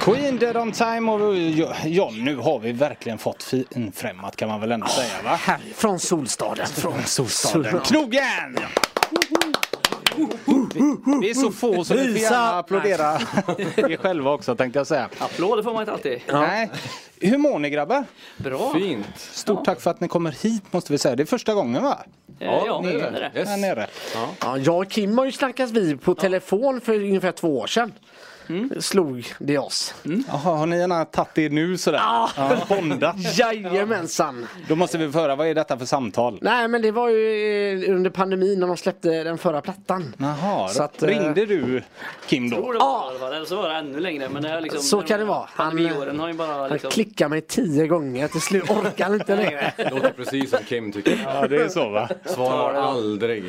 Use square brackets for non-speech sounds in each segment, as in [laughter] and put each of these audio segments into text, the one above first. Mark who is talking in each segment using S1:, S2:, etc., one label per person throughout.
S1: Queen Dead On Time och ja, ja, nu har vi verkligen fått finfrämmat kan man väl ändå säga va?
S2: Här, från Solstaden.
S1: Från Solstaden. Knogen! Vi, vi är så få så vi får gärna applådera [laughs] er själva också tänkte jag säga.
S3: Applåder får man inte alltid.
S1: Nej. Hur mår ni grabbar?
S3: Bra.
S4: Fint.
S1: Stort tack för att ni kommer hit måste vi säga. Det är första gången va?
S3: Ja, Eh, ja det är det.
S4: Yes.
S1: Här nere.
S2: Ja, jag och Kim har ju snackats vid på telefon för ungefär två år sedan. Slog det oss.
S1: Jaha, har ni gärna tagit er nu sådär? Ja, bondat.
S2: Jajamensan.
S1: Då måste vi få höra, vad är detta för samtal?
S2: Nej men det var ju eh, under pandemin när de släppte den förra plattan.
S1: Jaha,
S2: Så att, eh,
S1: ringde du Kim
S3: Jag
S1: då?
S3: tror det var i alla fall, eller så var det ännu längre. Men det är liksom,
S2: Så kan det vara. Han-
S3: Pandemiåren har ju bara
S2: Han
S3: liksom...
S2: klickade mig tio gånger till slut. Orkar han inte längre.
S4: Låter precis som Kim tycker.
S1: Ja, det är så va?
S4: Svarar aldrig.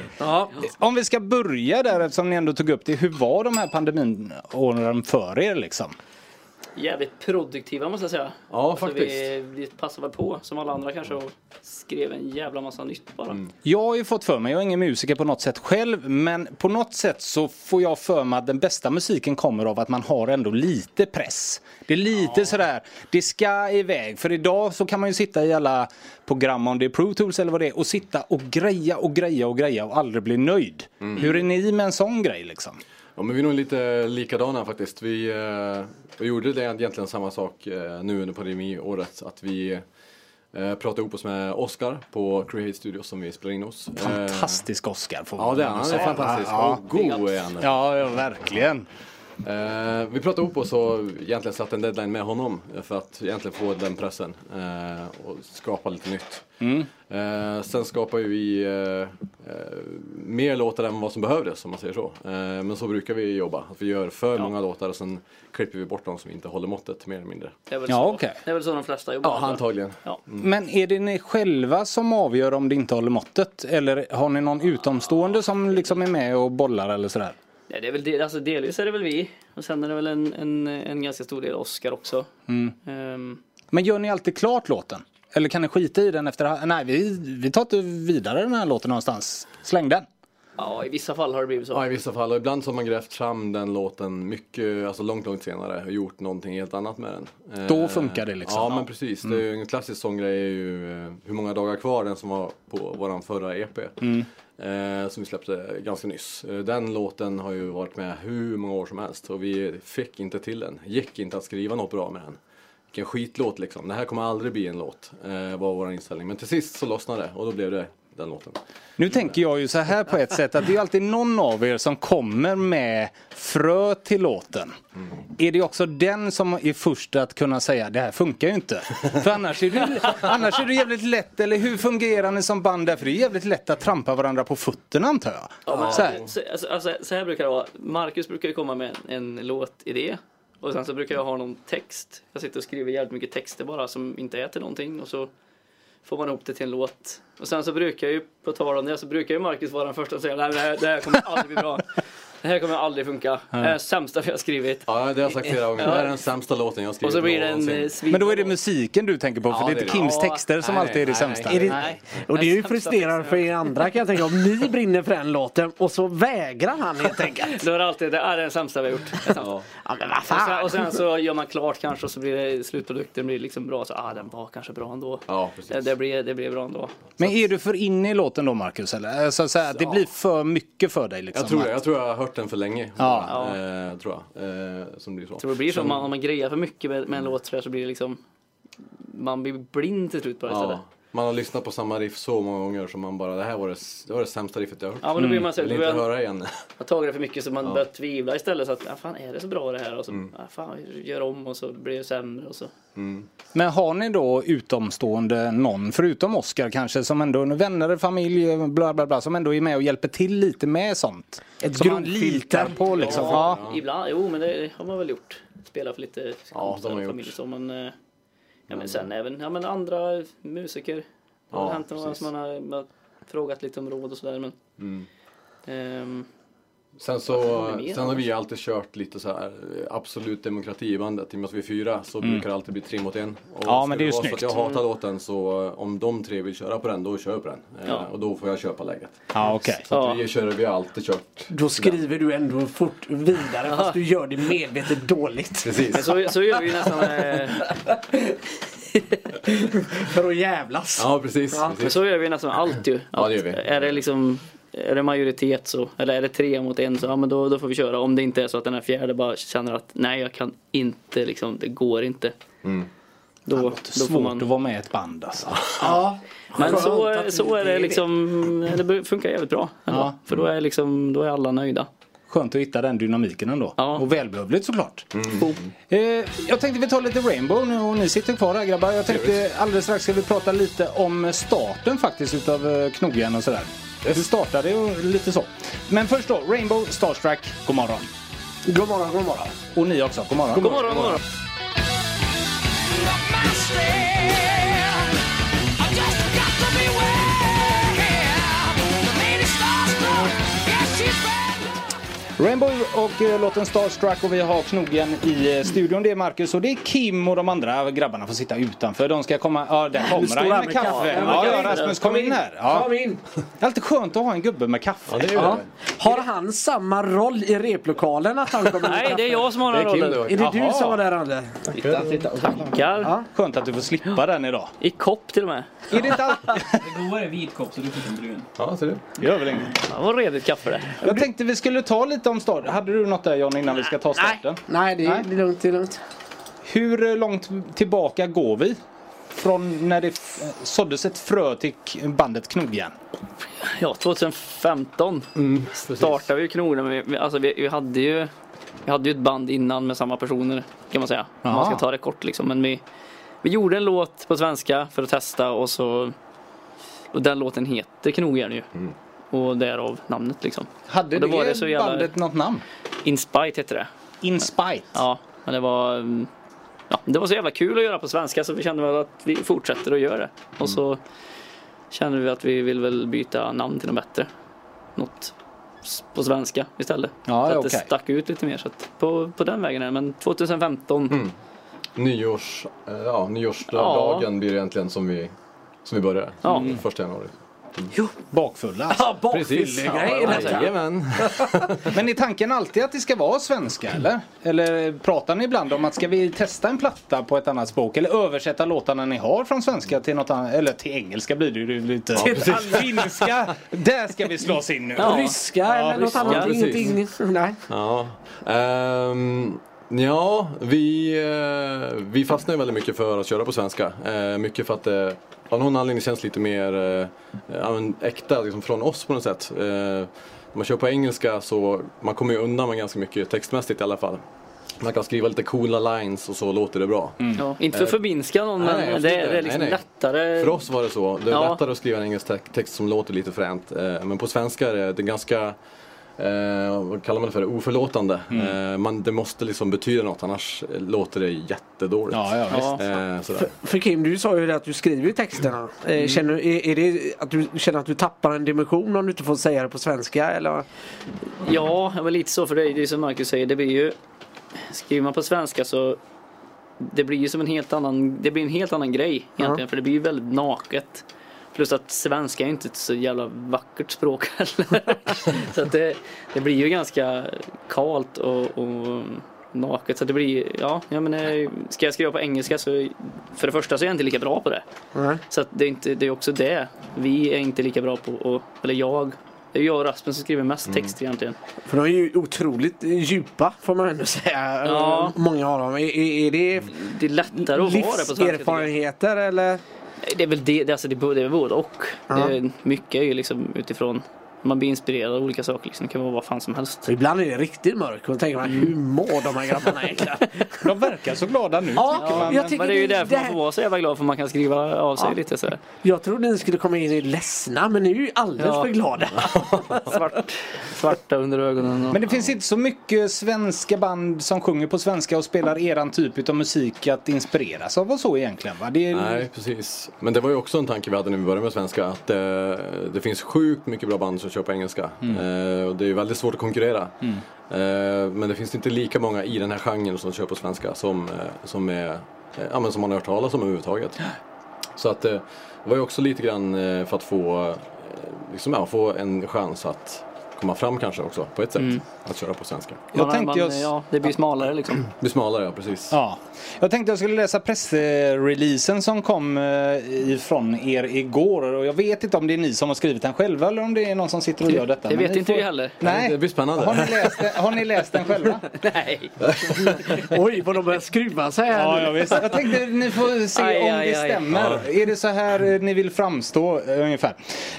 S1: Om vi ska börja där eftersom ni ändå tog upp det. Hur var de här pandeminåren för er liksom?
S3: Jävligt produktiva måste jag säga. Alltså,
S4: Ja, faktiskt.
S3: Vi, vi passade väl på, som alla andra kanske, och skrev en jävla massa nytt bara.
S1: Jag har ju fått för mig, jag är ingen musiker på något sätt själv, men på något sätt så får jag för mig att den bästa musiken kommer av att man har ändå lite press. Det är lite sådär, det ska iväg. För idag så kan man ju sitta i alla program, om det är Pro Tools eller vad det är, och sitta och greja och greja och greja och aldrig bli nöjd.
S4: Mm.
S1: Hur är ni med en sån grej liksom?
S4: Ja, men vi är nog lite likadana faktiskt. Vi, eh, vi gjorde det egentligen samma sak eh, nu under pandemiåret. Att vi eh, pratade ihop oss med Oscar på Create Studios som vi spelar in hos. Eh,
S1: Fantastisk Oscar får
S4: Ja, det är han.
S1: man
S4: Han är
S1: säga.
S4: fantastisk.
S1: Ja,
S4: Och god är han.
S1: ja, ja verkligen.
S4: Eh, vi pratade ihop oss och egentligen satte en deadline med honom eh, för att egentligen få den pressen eh, och skapa lite nytt. Eh, sen skapade vi eh, eh, mer låtar än vad som behövdes om man säger så. Eh, men så brukar vi jobba, att vi gör för många låtar och sen klipper vi bort de som inte håller måttet mer eller mindre.
S3: Det är väl,
S1: Ja,
S3: så,
S1: okej.
S3: det är väl så de flesta jobbar.
S4: Ja, antagligen.
S3: Ja.
S1: Men är det ni själva som avgör om det inte håller måttet? Eller har ni någon utomstående som liksom är med och bollar eller sådär?
S3: Nej, det är väl del, alltså delvis är det väl vi. Och sen är det väl en, en, en ganska stor del Oscar också. Ehm,
S1: Men gör ni alltid klart låten? Eller kan ni skita i den efter... Nej, vi, vi tar inte vidare den här låten någonstans. Släng den.
S3: ja, i vissa fall har det blivit så.
S4: Ja, i vissa fall. Och ibland så har man grävt fram den låten mycket, alltså långt, långt senare och gjort någonting helt annat med den. Eh,
S1: Då funkar det liksom.
S4: Ja, men precis. Det är ju en klassisk sångrej är ju eh, hur många dagar kvar, den som var på våran förra EP.
S1: Mm.
S4: Eh, som vi släppte ganska nyss. Eh, Den låten har ju varit med hur många år som helst och vi fick inte till den. Gick inte att skriva något bra med den. Vilken skitlåt liksom. Det här kommer aldrig bli en låt, eh, var vår inställning. Men till sist så lossnade det och då blev det den låten.
S1: Nu tänker jag ju så här på ett sätt att det är alltid någon av er som kommer med frö till låten. Är det också den som är först att kunna säga det här funkar ju inte? För annars är det, annars är det jävligt lätt, eller hur fungerar ni som band där? För det är jävligt lätt att trampa varandra på fötterna antar jag.
S3: Ja, men
S1: Så här.
S3: så, alltså, alltså, så här brukar det vara. Marcus brukar ju komma med en, en låtidé. Och sen så brukar jag ha någon text. Jag sitter och skriver jävligt mycket texter bara som inte är till någonting. Och så får man ihop det till en låt. Och sen så brukar jag ju, på tal om det, så brukar ju Marcus vara den första som säger nej men det här, det här kommer aldrig bli bra. Det här kommer aldrig funka. Det här är det sämsta vi har skrivit.
S4: Ja, det har jag sagt flera gånger. Det här är den sämsta låten jag har skrivit
S3: Och så blir det en
S4: någonsin.
S3: eh, svin-
S1: Men då är det musiken du tänker på, för
S4: Ja,
S1: det är inte
S4: det är det.
S1: Kims texter som
S4: Nej,
S1: alltid är det
S4: nej,
S1: sämsta.
S4: nej.
S2: Är det,
S3: Nej.
S2: och det är ju
S3: Den sämsta
S2: frustrerande för er andra kan jag tänka om ni brinner för den låten och så vägrar han helt enkelt.
S3: Då är det alltid det här är det sämsta vi har gjort. Det är sämst.
S2: Ja men vad
S3: Och sen,
S2: fan.
S3: och sen så gör man klart kanske och så blir det, slutprodukten blir liksom bra. Så ah, den var kanske bra ändå.
S4: Ja, precis.
S3: Det, det, blir, det blir bra ändå.
S1: Men är du för inne i låten då Marcus? Eller? Alltså, så här, det blir för mycket för dig liksom?
S4: Jag tror
S1: att-
S4: det. Jag tror jag har hört den för länge.
S1: Ja.
S4: bara. Eh, tror jag. Eh, som blir så.
S3: Jag tror det blir så om man, om man grejar för mycket med, med en låt så, där, så blir det liksom man blir blind till slut på det
S4: ja.
S3: istället.
S4: Man har lyssnat på samma riff så många gånger som man bara, det här var det, det, var det sämsta riffet jag har hört.
S3: Ja men då blir man så
S4: Jag
S3: här,
S4: Mm.
S3: då
S4: vill inte
S3: börjar man
S4: höra igen. [laughs]
S3: har tagit det för mycket så man börjar tvivla istället. Så att, ah, fan är det så bra det här? Och så,
S4: Mm.
S3: ah, fan gör om och så blir det sämre och så.
S1: Men har ni då utomstående någon, förutom Oscar kanske, som ändå vänner, familj, bla bla bla, som ändå är med och hjälper till lite med sånt?
S2: Ett
S1: som man
S2: grovfilter.
S1: litar på liksom? Ja.
S3: Ibland, jo men det har man väl gjort. Spela för lite kompisar
S4: har man
S3: och
S4: gjort. Mm.
S3: familj så men, eh, ja, men sen även ja, men andra musiker. Det har
S4: Ja,
S3: hänt några
S4: precis. Mm.
S3: som man har, man har frågat lite om råd och sådär men. ehm,
S4: Sen, så,
S3: håller ni med
S4: sen har
S3: om?
S4: vi alltid kört lite så här eh, absolut demokrati i bandet. I och med att vi är fyra så
S3: Mm.
S4: brukar det alltid bli tre mot en. Och
S1: Ja,
S4: ska
S1: men det är ju
S4: vara så att jag
S1: snyggt.
S4: hatar låten så eh, om de tre vill köra på den, då kör jag på den. Eh,
S3: Ja.
S4: Och då får jag köpa läget.
S1: Ja, okej.
S4: Så
S3: Ja.
S4: att vi, kör, vi har alltid kört.
S2: Då skriver du ändå fort vidare fast du gör det medvetet dåligt.
S3: Men
S4: Precis.
S3: så, så gör vi ju nästan eh,
S2: För att jävlas.
S4: Ja, precis.
S3: Men
S4: precis.
S3: så gör vi nästan allt ju.
S4: Ja, det gör vi.
S3: Att Är det liksom är det majoritet så, eller är det tre mot en så, ja men då, då får vi köra. Om det inte är så att den här fjärde bara känner att nej jag kan inte liksom, det går inte.
S4: Mm.
S3: Då, då får
S1: Svårt
S3: man.
S1: att vara med i ett band alltså.
S2: Ja.
S3: Men
S2: Skönt
S3: så,
S2: att vi
S3: så är
S2: inte
S3: det liksom, det funkar jävligt bra. Ändå.
S1: Ja.
S3: För då är, liksom, då är alla nöjda.
S1: Skönt att hitta den dynamiken ändå.
S3: Ja.
S1: Och välbehövligt såklart. Eh, jag tänkte vi tar lite Rainbow nu och ni sitter kvar här grabbar. Jag tänkte alldeles strax ska vi prata lite om starten faktiskt utav eh, knogjärn och sådär. Du startade ju lite så. Men först då, Rainbow Starstruck, god morgon.
S2: God morgon, god morgon.
S1: Och ni också, god morgon.
S3: God morgon, god morgon.
S1: Rainbow och eh, låten Starstruck och vi har knogjärn i eh, studion. Det är Marcus och det är Kim och de andra grabbarna får sitta utanför. De ska komma, ja där kommer han
S2: här
S1: med
S2: med
S1: kaffe.
S2: kaffe.
S1: Ja, ja, Rasmus kom in här. Ja.
S2: Kom in.
S1: Det är alltid skönt att ha en gubbe med kaffe.
S2: Ja. Har han samma roll i replokalen att han [laughs] kommer
S3: Nej, det är jag som har den
S4: Det är Kim
S3: rollen.
S4: då.
S2: Är det
S1: Jaha.
S2: du som var där Anders?
S3: Tackar.
S2: Ja.
S1: Skönt att du får slippa den idag.
S3: I kopp till och med.
S1: Är det inte allt?
S5: Det goda är vit kopp så du fick en brun.
S4: Ja, ser du?
S1: Gör väl inget.
S3: Ja, vad redigt kaffe det.
S1: Jag tänkte vi skulle ta lite om starten. Hade du något där John innan vi ska ta starten?
S2: Nej, det är
S1: Nej.
S2: lugnt. Det är lugnt.
S1: Hur eh, långt tillbaka går vi? Från när det f- eh, såddes ett frö till k- bandet Knogjärn.
S3: Ja, 2015 startade vi ju Knogarna. men vi- Alltså, vi, vi, hade ju, vi hade ju ett band innan med samma personer kan man säga. Om man
S1: Jaha.
S3: ska ta det kort liksom. Men vi, vi gjorde en låt på svenska för att testa och så och den låten heter Knogjärn ju. Och därav namnet liksom.
S1: Hade
S3: Och då
S1: det,
S3: var det så jävla-
S1: bandet något namn?
S3: In Spite heter det.
S1: In Spite.
S3: Ja, men det var, mm, ja, det var så jävla kul att göra på svenska så vi kände väl att vi fortsätter att göra det. Och så kände vi att vi vill väl byta namn till något bättre. Något s- på svenska istället.
S1: Ja,
S3: så att det
S1: okej.
S3: stack ut lite mer. Så att på, på den vägen är det. Men 2015,
S4: Nyårs, eh, ja, nyårsdagen
S3: Ja.
S4: blir egentligen som vi, som vi börjar.
S3: Ja.
S4: Mm. Första januari.
S1: Bakfulla.
S2: Ja,
S4: Precis.
S2: bakfyllegrejer.
S3: Ja, ja.
S4: Jajamän.
S1: Men är tanken alltid att det ska vara svenska eller? Eller pratar ni ibland om att ska vi testa en platta på ett annat språk? Eller översätta låtarna ni har från svenska till något annat? Eller till engelska blir det ju lite. till finska! Där ska vi slå oss in nu.
S3: Ja.
S2: Ryska eller något
S3: ryska,
S2: annat.
S4: precis.
S2: Ingenting. Nej.
S4: Ja. Ehm, ja, vi, eh, vi fastnar ju väldigt mycket för att köra på svenska. Eh, mycket för att det av någon anledning känns lite mer eh, ja, men äkta liksom från oss på något sätt. Eh, när man kör på engelska så man kommer ju undan med ganska mycket textmässigt i alla fall. Man kan skriva lite coola lines och så låter det bra.
S3: ja, inte för att förminska någon
S4: nej,
S3: men
S4: absolut
S3: det, är-
S4: inte.
S3: det är liksom
S4: Nej, nej.
S3: lättare.
S4: För oss var det så. Det är
S3: Ja.
S4: lättare att skriva en engelsk te- text som låter lite fränt. Eh, Men på svenska är det det är ganska, eh, vad kallar man det för, oförlåtande.
S1: Mm.
S4: Eh, man, det måste liksom betyda något annars låter det jättedåligt.
S1: Ja, ja, visst.
S3: Ja.
S4: Eh, sådär.
S2: För Kim, du sa ju det att du skriver ju texterna. Eh,
S3: Mm.
S2: Känner, är, är det att du känner att du tappar en dimension om du inte får säga det på svenska? Eller?
S3: Ja, men lite så för det är ju som Marcus säger, det blir ju skriver man på svenska så det blir ju som en helt annan, det blir en helt annan grej egentligen för det blir ju väldigt naket. Plus att svenska är ju inte ett så jävla vackert språk heller. så att det, det blir ju ganska kalt och, och naket. Så det blir, ja, jag menar, ska jag skriva på engelska så för det första så är jag inte lika bra på det.
S2: Nej.
S3: Så att det, är inte, det är också det. Vi är inte lika bra på, och, eller jag, det är jag och Rasmus som skriver mest text egentligen.
S2: För de är ju otroligt djupa får man ändå säga.
S3: Ja.
S2: Många av dem. Är, är, är det
S3: Det är lättare att vara det på svenska. tycker jag.
S2: livserfarenheter eller?
S3: Det är väl det, det, alltså det, är både- det är både och.
S2: Ja.
S3: Det är, mycket är ju liksom utifrån, man blir inspirerad av olika saker liksom. Det kan vara vad fan som helst.
S2: Ibland är det riktigt mörkt och då tänker man hur mår de här grabbarna egentligen?
S1: De verkar så glada nu. tycker man.
S2: jag tycker
S3: Men det är ju
S2: det-
S3: därför
S2: det-
S3: man får vara så jävla glad för man kan skriva av sig
S2: Ja.
S3: lite så här.
S2: Jag trodde ni skulle komma in i ledsna men ni är ju alldeles
S3: Ja.
S2: för glada.
S3: Svart, svarta under ögonen. Och,
S1: Men det finns inte så mycket svenska band som sjunger på svenska och spelar eran typ av musik att inspireras av och så egentligen va? Det är...
S4: Nej, precis. Men det var ju också en tanke vi hade när vi började med svenska. Att eh, det finns sjukt mycket bra band som som kör på engelska. Eh, och det är ju väldigt svårt att konkurrera. Eh, men det finns inte lika många i den här genren som kör på svenska som, eh, som, är, eh, ja, men som man har hört talas om överhuvudtaget. Så att eh, det var ju också lite grann eh, för att få, eh, liksom, ja, få en chans att komma fram kanske också på ett sätt. Att köra på svenska.
S1: Jag
S3: man,
S1: tänkte
S3: man,
S1: jag...
S3: ja, det blir
S2: [laughs]
S3: smalare liksom.
S4: Bli smalare, ja precis.
S1: Ja. Jag tänkte jag skulle läsa pressreleasen som kom eh, ifrån er igår. Och jag vet inte om det är ni som har skrivit den själva eller om det är någon som sitter och gör detta.
S3: Det
S1: Men
S3: vet
S1: ni
S3: inte vi heller.
S1: Nej.
S4: Det blir spännande.
S1: Har ni läst den, har ni läst den själva?
S3: [laughs] Nej.
S2: Oj, vad de börjar skruva sig här.
S1: ja, visst. Jag tänkte ni får se
S3: Aj,
S1: om
S3: aj,
S1: det
S3: aj.
S1: stämmer. Är det så här eh, ni vill framstå eh, ungefär?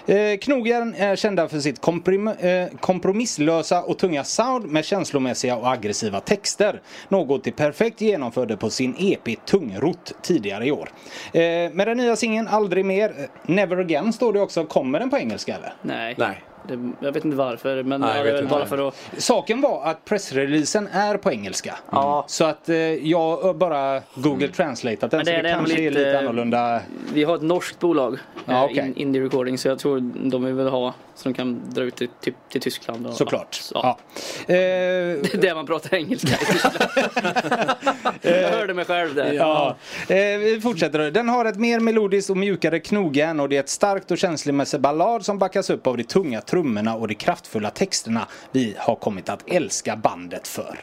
S1: Eh, Knogjärn är kända för sitt komprim- eh, kompromisslösa och tunga sound med känslomässiga och aggressiva texter. Något de perfekt genomförde på sin EP Tungrot tidigare i år. Eh, med den nya singeln Aldrig mer, eh, Never Again står det också. Kommer den på engelska eller?
S3: Nej.
S4: Nej.
S3: Det, jag vet inte varför men
S4: Nej,
S3: ja,
S4: jag
S3: det är
S4: vet
S3: väl
S4: inte.
S3: bara för att...
S1: Saken var att pressreleasen är på engelska.
S3: Ja. Mm.
S1: Så att eh, jag har bara Google Translateat den
S3: Men
S1: så
S3: det
S1: det
S3: är ändå
S1: kanske är
S3: lite-
S1: lite annorlunda.
S3: Vi har ett norskt bolag,
S1: Ja,
S3: ja,
S1: okej.
S3: in, Indie Recording, så jag tror de vill väl ha så de kan dra ut till, typ, till Tyskland. Och,
S1: Såklart.
S3: Ja.
S1: Ja. Eh,
S3: Där man pratar engelska i Tyskland. jag hörde mig själv där.
S1: Ja. Eh, vi fortsätter då. Den har ett mer melodiskt och mjukare knogjärn och det är ett starkt och känslomässigt ballad som backas upp av de tunga trummorna och de kraftfulla texterna vi har kommit att älska bandet för.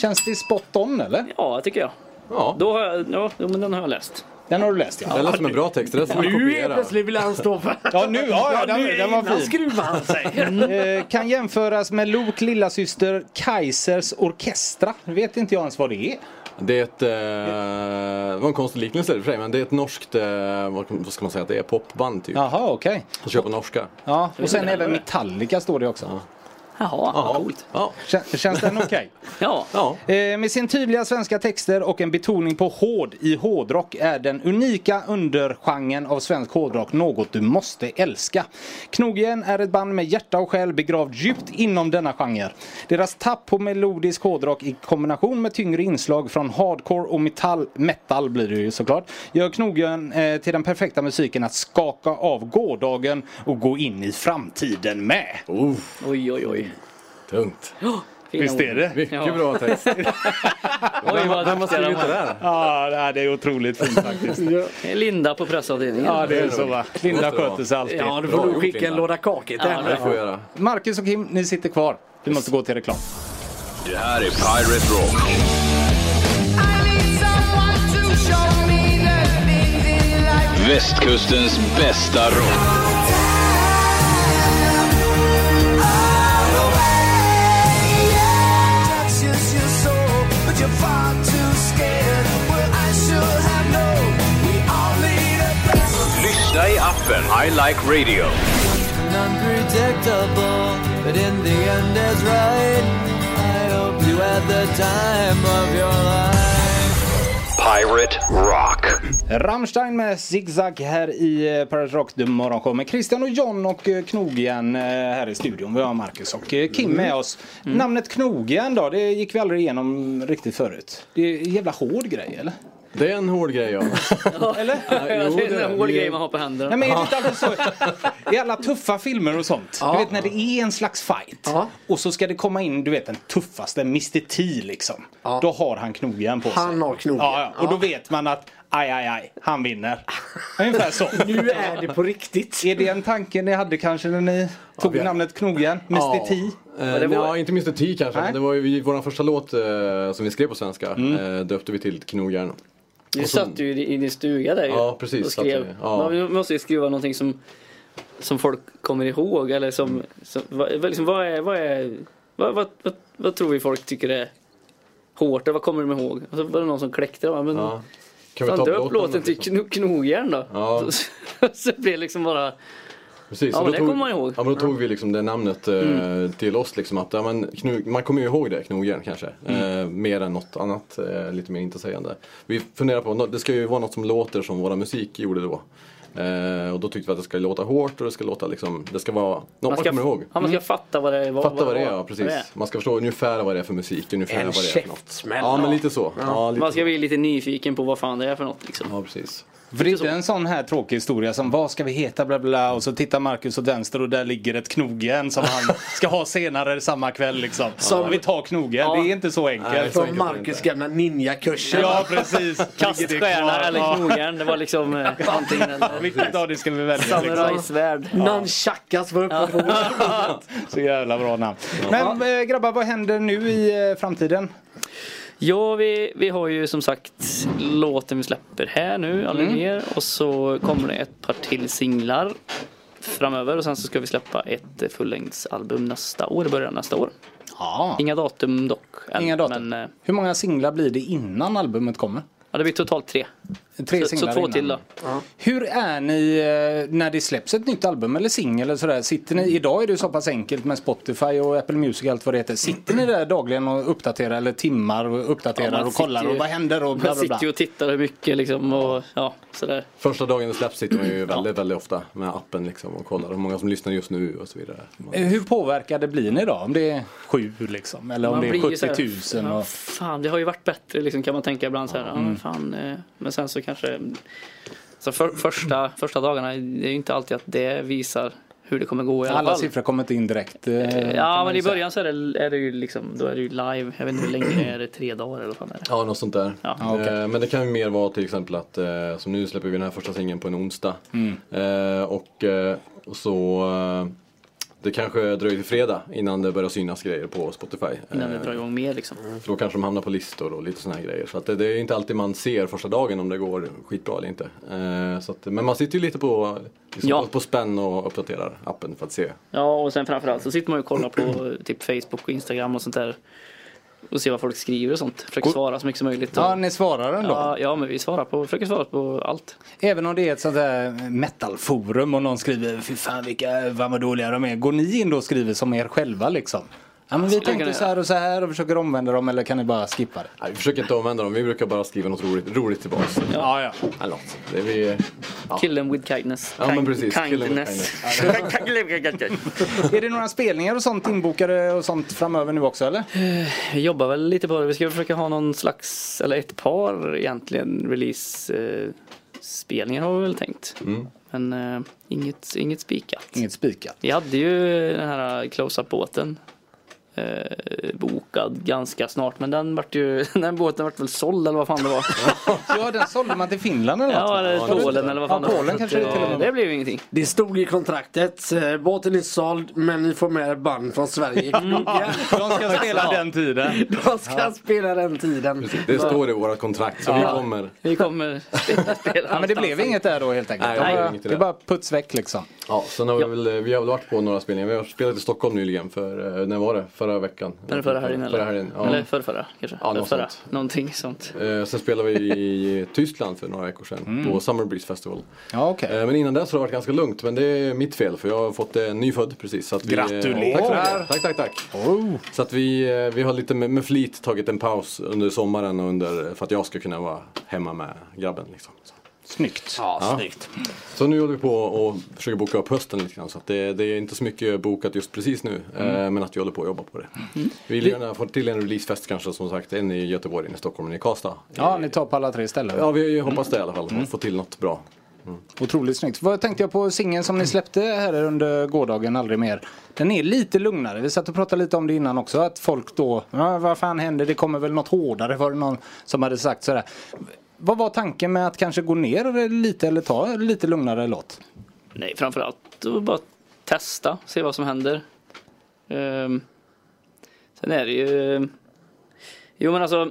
S1: Känns det spot on eller?
S3: Ja, tycker jag.
S4: Ja.
S3: Då har jag, ja, jo, men den har jag läst.
S1: Den har du läst ja.
S4: Det lät som en bra text, det lät som att
S2: Nu helt
S4: kopiera.
S2: plötsligt vill han stå för...
S1: Ja nu, ja, ja, den,
S2: nu
S1: den var
S2: innan
S1: fin.
S2: skruvar han sig.
S1: Eh, kan jämföras med Lok lillasyster Kaisers orkestra. Vet inte jag ens vad det är.
S4: Det är ett, eh, det var en konstig liknelse i och för sig, men det är ett norskt, eh, vad vad ska man säga att det är, popband typ.
S1: Jaha okej.
S4: Som kör på norska.
S1: Ja, och sen även Metallica står det också.
S3: Jaha, vad coolt.
S4: Ja.
S1: Kän- Känns den okej?
S3: Ja,
S4: ja.
S1: Eh, Med sin tydliga svenska texter och en betoning på hård i hårdrock är den unika undergenren av svensk hårdrock något du måste älska. Knogjärn är ett band med hjärta och själ begravd djupt inom denna genre. Deras tapp på melodisk hårdrock i kombination med tyngre inslag från hardcore och metall, metal blir det ju såklart, gör Knogjärn eh, till den perfekta musiken att skaka av gårdagen och gå in i framtiden med.
S4: Oh,
S3: oj oj oj.
S4: tungt.
S3: Fina ord.
S1: det?
S4: Mycket
S3: Ja.
S4: bra text.
S3: Oj, vad
S4: Vem
S3: duktiga
S4: har
S3: de
S4: skrivit det
S3: var.
S4: där?
S1: Ja, det är otroligt fint faktiskt.
S3: Linda på pressavdelningen.
S1: Ja, det är så va. Linda
S4: Måste det vara.
S1: sköter sig alltid.
S2: Ja, du
S4: Bra
S2: får nog
S4: gjort,
S2: skicka en
S4: Linda.
S2: låda kakor till
S3: Ja,
S4: Det
S2: henne.
S4: får jag göra.
S1: Marcus och Kim, ni sitter kvar. Vi måste gå till reklam.
S6: Det här är Pirate Rock. Västkustens bästa rock. Lyssna i appen I Like Radio.
S7: unpredictable, but in the end it's right. I hope you had the time of your life.
S6: Pirate Rock.
S1: Rammstein med zigzag här i eh, Paradise Rock The Morgonshow med Christian och John och eh, Knogjärn eh, här i studion. Vi har Marcus och eh, Kim med oss. Namnet Knogjärn då, det gick vi aldrig igenom riktigt förut. Det är en jävla hård grej eller?
S4: Det är en hård grej ja.
S1: Eller?
S4: Ja, jo,
S3: det är en hård
S4: vi-
S3: grej man har på
S1: Nej
S3: händerna.
S1: men är det inte alltid så i alla tuffa filmer och sånt? Du vet när det är en slags fight
S2: Ja.
S1: och så ska det komma in du vet den tuffaste, Mr T liksom. Då har han knogjärn på sig.
S2: Han har knogjärn.
S1: Ja, ja. Och då vet man att aj, aj, aj, han vinner. [laughs] Ungefär så.
S2: Nu är det på riktigt.
S1: Är det en tanke ni hade kanske när ni tog
S4: vi-
S1: namnet knogjärn? Mr T?
S4: Eh,
S3: det var-
S4: nja, inte Mr T kanske.
S1: Nej.
S4: men Det var ju vi- vår första låt eh, som vi skrev på svenska.
S3: Mm.
S4: Eh, döpte vi till Knogjärn.
S3: Du satt ju i i din stuga där ju
S4: Ja, precis,
S3: och
S4: satt
S3: skrev.
S4: jag. Ja.
S3: Man vi måste ju skriva någonting som, som folk kommer ihåg eller som... som vad, vad- liksom, vad, är, vad, är, vad, vad, vad, vad tror vi folk tycker är hårt? Eller vad kommer de ihåg? Och så var det någon som kläckte. va, Men,
S4: Ja. Kan
S3: Fan,
S4: upp
S3: döp låten till kno, Knogjärn då.
S4: liksom. Ja.
S3: Så, [laughs] så det blir liksom bara...
S4: Precis,
S3: Ja,
S4: och
S3: men
S4: då
S3: det
S4: tog-
S3: kommer man ihåg. Mm.
S4: Ja, men då tog vi liksom det namnet eh, till oss. Liksom, att, ja, men, knu, man kommer ju ihåg det, knogjärn kanske.
S3: Mm.
S4: Eh, mer än något annat, eh, lite mer intetsägande. Vi funderar på, nå- det ska ju vara något som låter som våra musik gjorde då. Eh, och då tyckte vi att det ska låta hårt och det ska låta liksom, det ska vara något man,
S3: ska,
S4: kommer ihåg. Mm.
S3: ja, man ska fatta vad det är. Vad,
S4: Fatta vad det är,
S3: vad-
S4: ja precis.
S3: vad det är.
S4: Man ska förstå ungefär vad det är för musik, ungefär
S2: En
S4: vad det är för något.
S2: käftsmäll.
S4: Ja, men lite så. Ja, lite
S3: Man ska bli lite nyfiken på vad fan det är för något liksom.
S4: så. ja precis.
S1: För det är
S3: Lite
S1: inte en sån här tråkig historia som vad ska vi heta bla bla, bla och så tittar Marcus åt vänster och där ligger ett knogjärn som [laughs] han ska ha senare samma kväll liksom. Som vi tar knogjärn, det är inte så enkelt.
S2: Från Marcus gamla ninjakurser.
S1: Ja precis. [laughs] Ligger det
S3: Kaststjärna
S1: kvar?
S3: eller knogjärn, det var liksom eh, antingen
S1: Ja,
S3: eller.
S1: Vilket av det ska vi välja? Liksom?
S3: Samurajsvärd.
S2: Någon tjackas Alltså, var uppe på bordet.
S1: Så jävla bra namn. Men eh, grabbar, vad händer nu i eh, framtiden?
S3: Ja, vi, vi har ju som sagt låten vi släpper här nu, aldrig
S4: Mm.
S3: mer. Och så kommer det ett par till singlar framöver. Och sen så ska vi släppa ett eh, fullängdsalbum nästa år, i början av nästa år.
S1: Ja.
S3: Inga datum dock. än,
S1: Inga datum.
S3: Men eh,
S1: Hur många singlar blir det innan albumet kommer?
S3: ja, det blir totalt tre.
S1: Tre
S3: Så- så
S1: singlar
S3: två
S1: innan.
S3: till då.
S1: Hur är ni eh, när det släpps ett nytt album eller singel eller sådär? Sitter ni, idag är det ju så pass enkelt med Spotify och Apple Music och allt vad det heter. Sitter ni där dagligen och uppdaterar eller timmar och
S3: Ja,
S1: uppdaterar
S3: man
S1: och kollar
S3: sitter ju-
S1: och vad händer och bla
S3: Man
S1: bla bla?
S3: sitter ju och tittar hur mycket liksom och ja, sådär.
S4: Första dagen det släpps sitter man
S3: [clears throat]
S4: ju väldigt, väldigt ofta med appen liksom och kollar hur många som lyssnar just nu och så vidare. Man,
S1: Eh, Hur påverkade blir ni då? Om det är sju liksom eller om
S3: Man
S1: det
S3: blir ju
S1: är 70
S3: såhär,
S1: 000? Och...
S3: Ja,
S1: Mm.
S3: fan, det har ju varit bättre liksom, kan man tänka ibland så här. Ja, men, fan, eh, men sen så kanske... Så för, första, första dagarna, det är ju inte alltid att det visar hur det kommer gå i alla,
S1: Alla
S3: fall.
S1: siffror kommer inte in direkt. eh, kan
S3: Ja,
S1: man
S3: men
S1: ju
S3: i
S1: säga.
S3: början så är det, är det ju liksom, då är det ju live. Jag vet inte hur länge det är, det tre dagar eller vad fan är det?
S4: Ja, något sånt där.
S3: Ja.
S1: Ja, okej.
S4: Eh, Men det kan ju mer vara till exempel att, eh, som nu släpper vi den här första singeln på en onsdag. Eh, Och eh, och så, eh, det kanske dröjer till fredag innan det börjar synas grejer på Spotify.
S3: Innan det
S4: Eh,
S3: drar igång mer liksom.
S1: Mm.
S4: För då kanske de hamnar på listor och lite sådana här grejer. Så att det, det är inte alltid man ser första dagen om det går skitbra eller inte. Eh, så att, men man sitter ju lite på, liksom,
S3: Ja.
S4: på, på spänn och uppdaterar appen för att se.
S3: Ja, och sen framförallt så sitter man ju och kollar på typ Facebook och Instagram och sånt där. Och ser vad folk skriver och sånt. Försöker svara så mycket som möjligt. Och,
S1: Ja, ni svarar ändå.
S3: ja, ja, men vi svarar på, försöker svara på allt.
S1: Även om det är ett sånt där metalforum och någon skriver fy fan vilka vad vad dåliga de är. Går ni in då och skriver som er själva liksom? Ja men vi
S3: Skulle
S1: tänkte
S3: kunna
S1: så här och så här och försöker omvända dem eller kan ni bara skippa det?
S4: Nej, vi försöker inte omvända dem, vi brukar bara skriva något roligt, roligt tillbaks.
S1: Ja ja.
S4: Eller något. Det är vi, ja.
S3: Kill them with kindness.
S4: Ja, men precis. Kill them with
S3: Kindness.
S1: [laughs] är det några spelningar och sånt inbokade och sånt framöver nu också eller?
S3: Vi [laughs] jobbar väl lite på det. Vi ska försöka ha någon slags, eller ett par egentligen, release-spelningar har vi väl tänkt. Men eh, inget, inget spikat.
S1: Inget spikat.
S3: Vi hade ju den här close-up-båten eh, bokad ganska snart men den vart ju, [laughs] den båten vart väl såld eller vad fan det var.
S1: Ja den sålde man till Finland eller
S3: ja eller
S1: det-
S3: Polen eller vad fan
S1: ja,
S3: det var.
S1: Polen
S3: Så att,
S1: kanske det till och med
S3: eh,
S1: var.
S3: [laughs] Det blev ju ingenting.
S2: Det stod i kontraktet. eh, Båten är såld men ni får med er band från Sverige. Knogjärn.
S1: De ska spela den tiden.
S2: De ska spela den tiden.
S4: Det står i våra kontrakt, så vi kommer.
S3: Vi kommer spela, spela
S1: Ja men det blev inget där då helt enkelt.
S4: Nej,
S1: det,
S4: det blev
S1: var,
S4: inget i
S1: det
S4: det.
S1: bara puts väck liksom.
S4: Ja, sen har vi, väl, vi har väl varit på några spelningar. Vi har spelat i Stockholm nyligen, för, eh, när var det? Förra veckan?
S3: Den förra helgen eller?
S4: Förra helgen, ja.
S3: Eller förra, förra kanske?
S4: Ja,
S3: Eller
S4: något
S3: förra.
S4: sånt.
S3: Någonting sånt.
S4: Eh, Sen spelade vi i Tyskland för några veckor sedan
S3: Mm.
S4: på Summer Breeze Festival.
S1: Ja okej.
S4: Eh, Men innan dess har det varit ganska lugnt, men det är mitt fel för jag har fått en nyfödd precis. Så att vi, eh,
S1: Gratulerar!
S4: Tack, så mycket. tack, tack, tack. Så att vi, eh, vi har lite med, med flit tagit en paus under sommaren och under, för att jag ska kunna vara hemma med grabben. Liksom. Så.
S1: Snyggt.
S2: Ja, snyggt.
S4: så nu håller vi på och försöker boka upp hösten lite grann. Så att det, det är inte så mycket bokat just precis nu, eh,
S2: Mm.
S4: men att vi håller på att jobba på det. Vi vill gärna få till en releasefest kanske som sagt, en i Göteborg, en i Stockholm, en i Karlstad.
S1: Ja ni tar på alla tre ställen.
S4: Ja, vi hoppas det i alla fall,
S2: Mm.
S4: att få till något bra.
S1: Otroligt snyggt. Vad tänkte jag på singeln som ni släppte här under gårdagen, Aldrig mer. Den är lite lugnare. Vi satt och pratade lite om det innan också. Att folk då, ja, vad fan händer, det kommer väl något hårdare var det någon som hade sagt sådär. Vad var tanken med att kanske gå ner lite eller ta en lite lugnare låt?
S3: Nej, framförallt att bara testa, se vad som händer. Ehm, sen är det ju... Jo men alltså...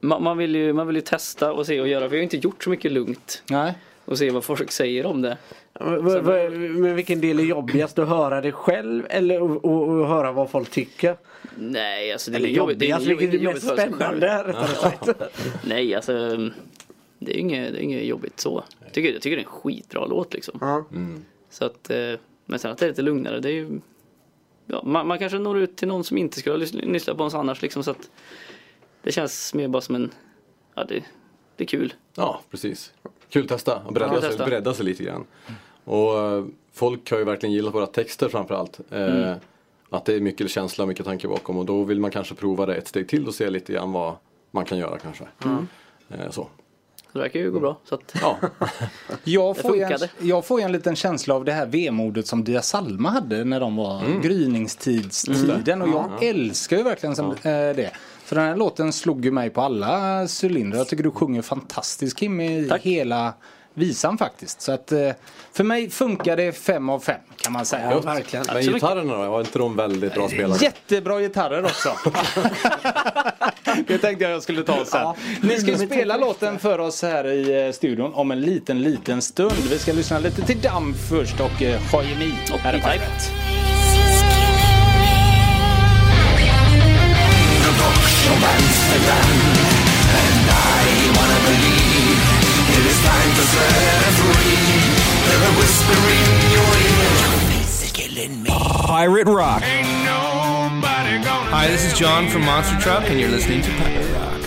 S3: Man, man, vill ju, man vill ju testa och se och göra. Vi har ju inte gjort så mycket lugnt
S1: Nej.
S3: och se vad folk säger om det.
S2: Men- men- men- Men vilken del är jobbigast? Att höra det själv eller och, och, och höra vad folk tycker?
S3: Nej, alltså det är
S2: Eller
S3: jobbigt. Det är
S2: jobbigast? Vilket
S3: jobbigt,
S2: är
S3: jobbigt
S2: mest
S3: för sig själv.
S2: spännande? Rättare sagt.
S3: Nej, alltså... Det är ju inget, det är inget jobbigt så. Jag tycker, jag tycker det är en skitbra låt liksom.
S2: Ja.
S4: Mm.
S3: Så att, eh, men sen att det är lite lugnare, det är ju... Ja, man, man kanske når ut till någon som inte skulle ha lys- lyssnat på oss annars liksom så att... Det känns mer bara som en... Ja, det, det är kul.
S4: Ja, precis. Kul att testa och bredda,
S3: Ja,
S4: sig,
S3: testa.
S4: bredda sig lite grann. Och eh, folk har ju verkligen gillat våra texter framförallt. Eh,
S3: Mm.
S4: Att det är mycket känsla och mycket tanke bakom och då vill
S3: Mm.
S4: man kanske prova det ett steg till och se lite grann vad man kan göra kanske. Eh, så.
S3: Det verkar ju gå bra. Så att,
S4: Ja,
S1: Jag
S3: Det
S1: får, ju en,
S3: funkade.
S1: jag får ju en liten känsla av det här vemodet som Dia Salma hade när de var gryningstidstiden. Och jag älskar ju verkligen som, eh, det. För den här låten slog ju mig på alla cylindrar. Jag tycker du sjunger fantastiskt Kim i hela visan faktiskt. Så att eh, för mig funkar det fem av fem kan man säga.
S4: gott.
S2: verkligen.
S4: Men gitarrerna då? Var inte de väldigt bra spelare?
S1: Jättebra gitarrer också. [laughs] det tänkte jag jag skulle ta sen. Ni ska ju spela låten för oss här i eh, studion om en liten, liten stund. Vi ska lyssna lite till Damm först och eh, Choemi.
S3: Och
S1: Här är
S3: E-Type.
S1: Pirate.
S8: Pirate Rock.
S9: Hi, this is John from Monster Truck, and you're listening to Pirate Rock.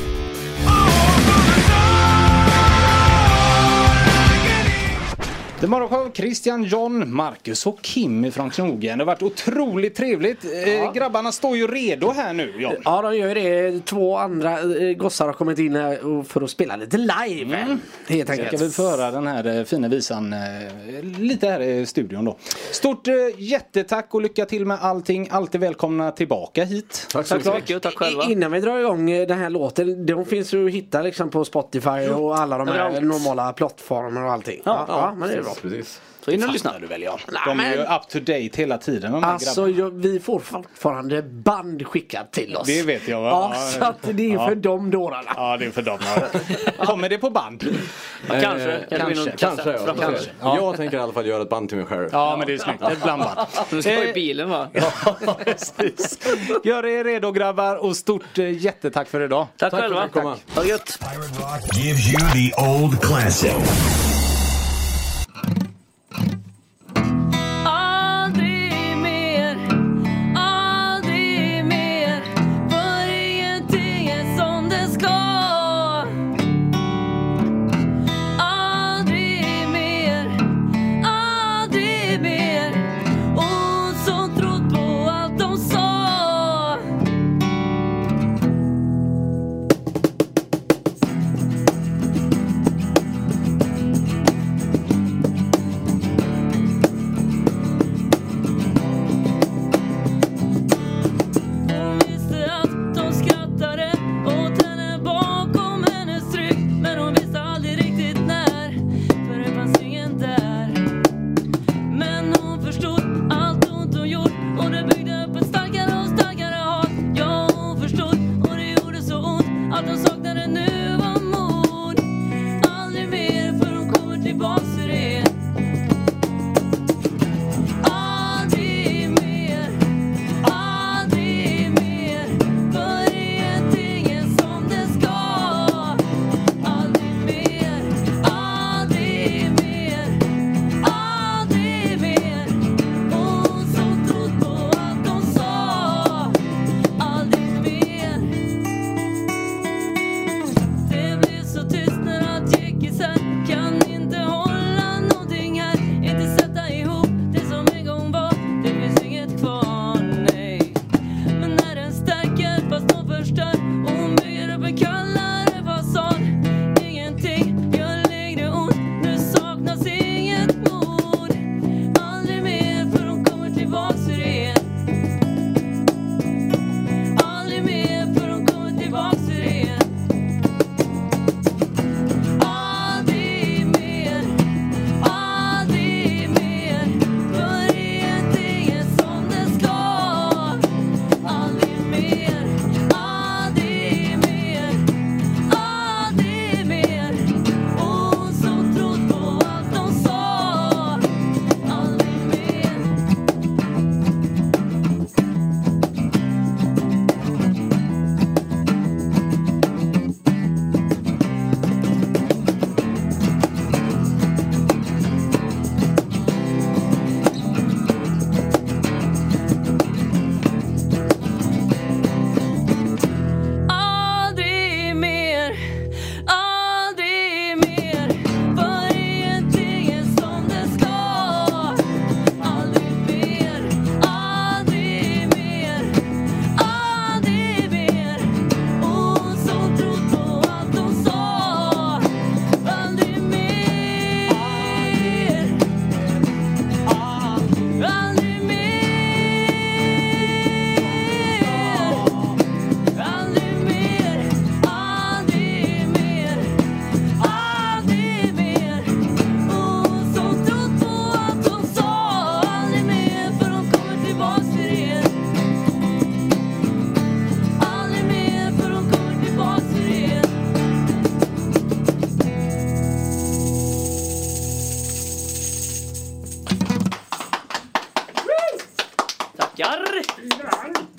S1: Det är morgonshow, Christian, John, Marcus och Kim från Knogen. Det har varit otroligt trevligt. Eh, Grabbarna står ju redo här nu, John.
S2: Ja, de gör ju det. Två andra eh, gossar har kommit in här och- för att spela lite live.
S3: Mm.
S2: Helt
S1: Eh, Ska
S2: enkelt.
S1: vi få höra den här eh, fina visan eh, lite här i studion då. Stort eh, jättetack och lycka till med allting. Alltid välkomna tillbaka hit.
S4: Tack så
S3: tack så
S4: mycket.
S3: mycket och tack själva.
S2: I- Innan vi drar igång eh, den här låten, de finns ju att hitta liksom på Spotify och alla de här
S3: Överallt.
S2: normala plattformarna och allting. Ja, ja, men det är bra.
S4: Precis.
S3: Så in och lyssna.
S1: De är ju up to date hela tiden de här
S2: Alltså
S1: grabbarna.
S2: jag, vi får fortfarande band skickat till oss.
S1: Det vet jag, va?
S2: Ja,
S1: Ja,
S2: så att det är
S1: ja.
S2: för de dårarna.
S1: Ja, det är för dem. ja. [laughs] Kommer det på band?
S3: Ja, kanske.
S4: Eh,
S3: kanske. blir någon
S4: Kanske,
S3: kassett
S4: ja.
S3: framåt.
S4: Kanske. Jag tänker i alla fall göra ett band till mig själv.
S1: Ja, men det är snyggt. Det är ett blandband.
S3: Du ska vara i bilen va?
S1: Ja, precis. Gör er redo grabbar och stort eh, jättetack för idag.
S3: Tack,
S4: Tack för
S3: själva.
S4: att du kom.
S3: Ha det gött.
S8: Pirate Rock gives you the old classic.
S10: Aldrig mer, aldrig mer För ingenting är som det ska Aldrig mer, aldrig mer Hon som trott på allt de sa
S3: tackar!